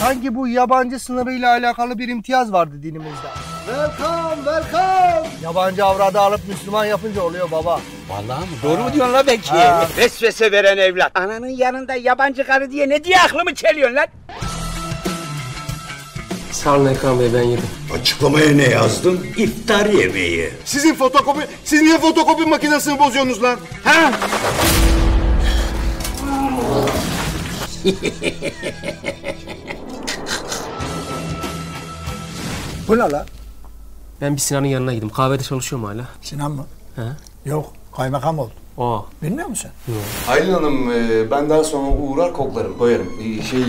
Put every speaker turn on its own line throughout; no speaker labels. Sanki bu yabancı sınırıyla alakalı bir imtiyaz vardı dinimizde.
Welcome, welcome.
Yabancı avradı alıp Müslüman yapınca oluyor baba.
Vallahi mi? Doğru mu diyorsun la Bekir? Vesvese veren evlat. Ananın yanında yabancı karı diye ne diye aklımı çeliyorsun lan?
Sarın Ekan Bey ben yedim.
Açıklamaya ne yazdın? İftar yemeği.
Sizin fotokopi, siz niye fotokopi makinesini bozuyorsunuz lan? Ha?
Bu ne la?
Ben bir Sinan'ın yanına gittim. Kahvede çalışıyorum hala.
Sinan mı?
He.
Yok, kaymakam oldu.
Aa.
Bilmiyor musun?
Aylin Hanım e, ben daha sonra uğrar koklarım koyarım. E, Şey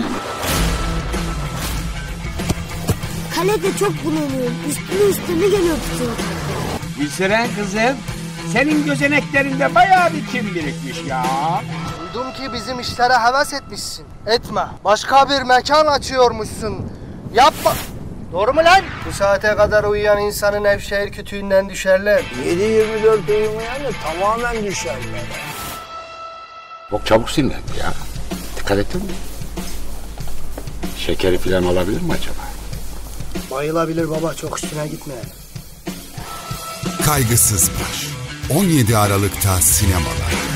Kalede çok bulanıyorum. Üstüne üstüne geliyor tutuyor.
Gülseren kızım. Senin gözeneklerinde bayağı bir kim birikmiş ya.
Duydum ki bizim işlere heves etmişsin. Etme. Başka bir mekan açıyormuşsun. Yapma. Doğru mu lan? Bu saate kadar uyuyan insanın Nevşehir kütüğünden düşerler.
7-24 uyumayan da tamamen düşer.
Çok çabuk sinirlendi ya. Dikkat ettin mi? Şekeri falan alabilir mi acaba?
Bayılabilir baba çok üstüne gitme.
Kaygısız Baş. 17 Aralık'ta sinemalar.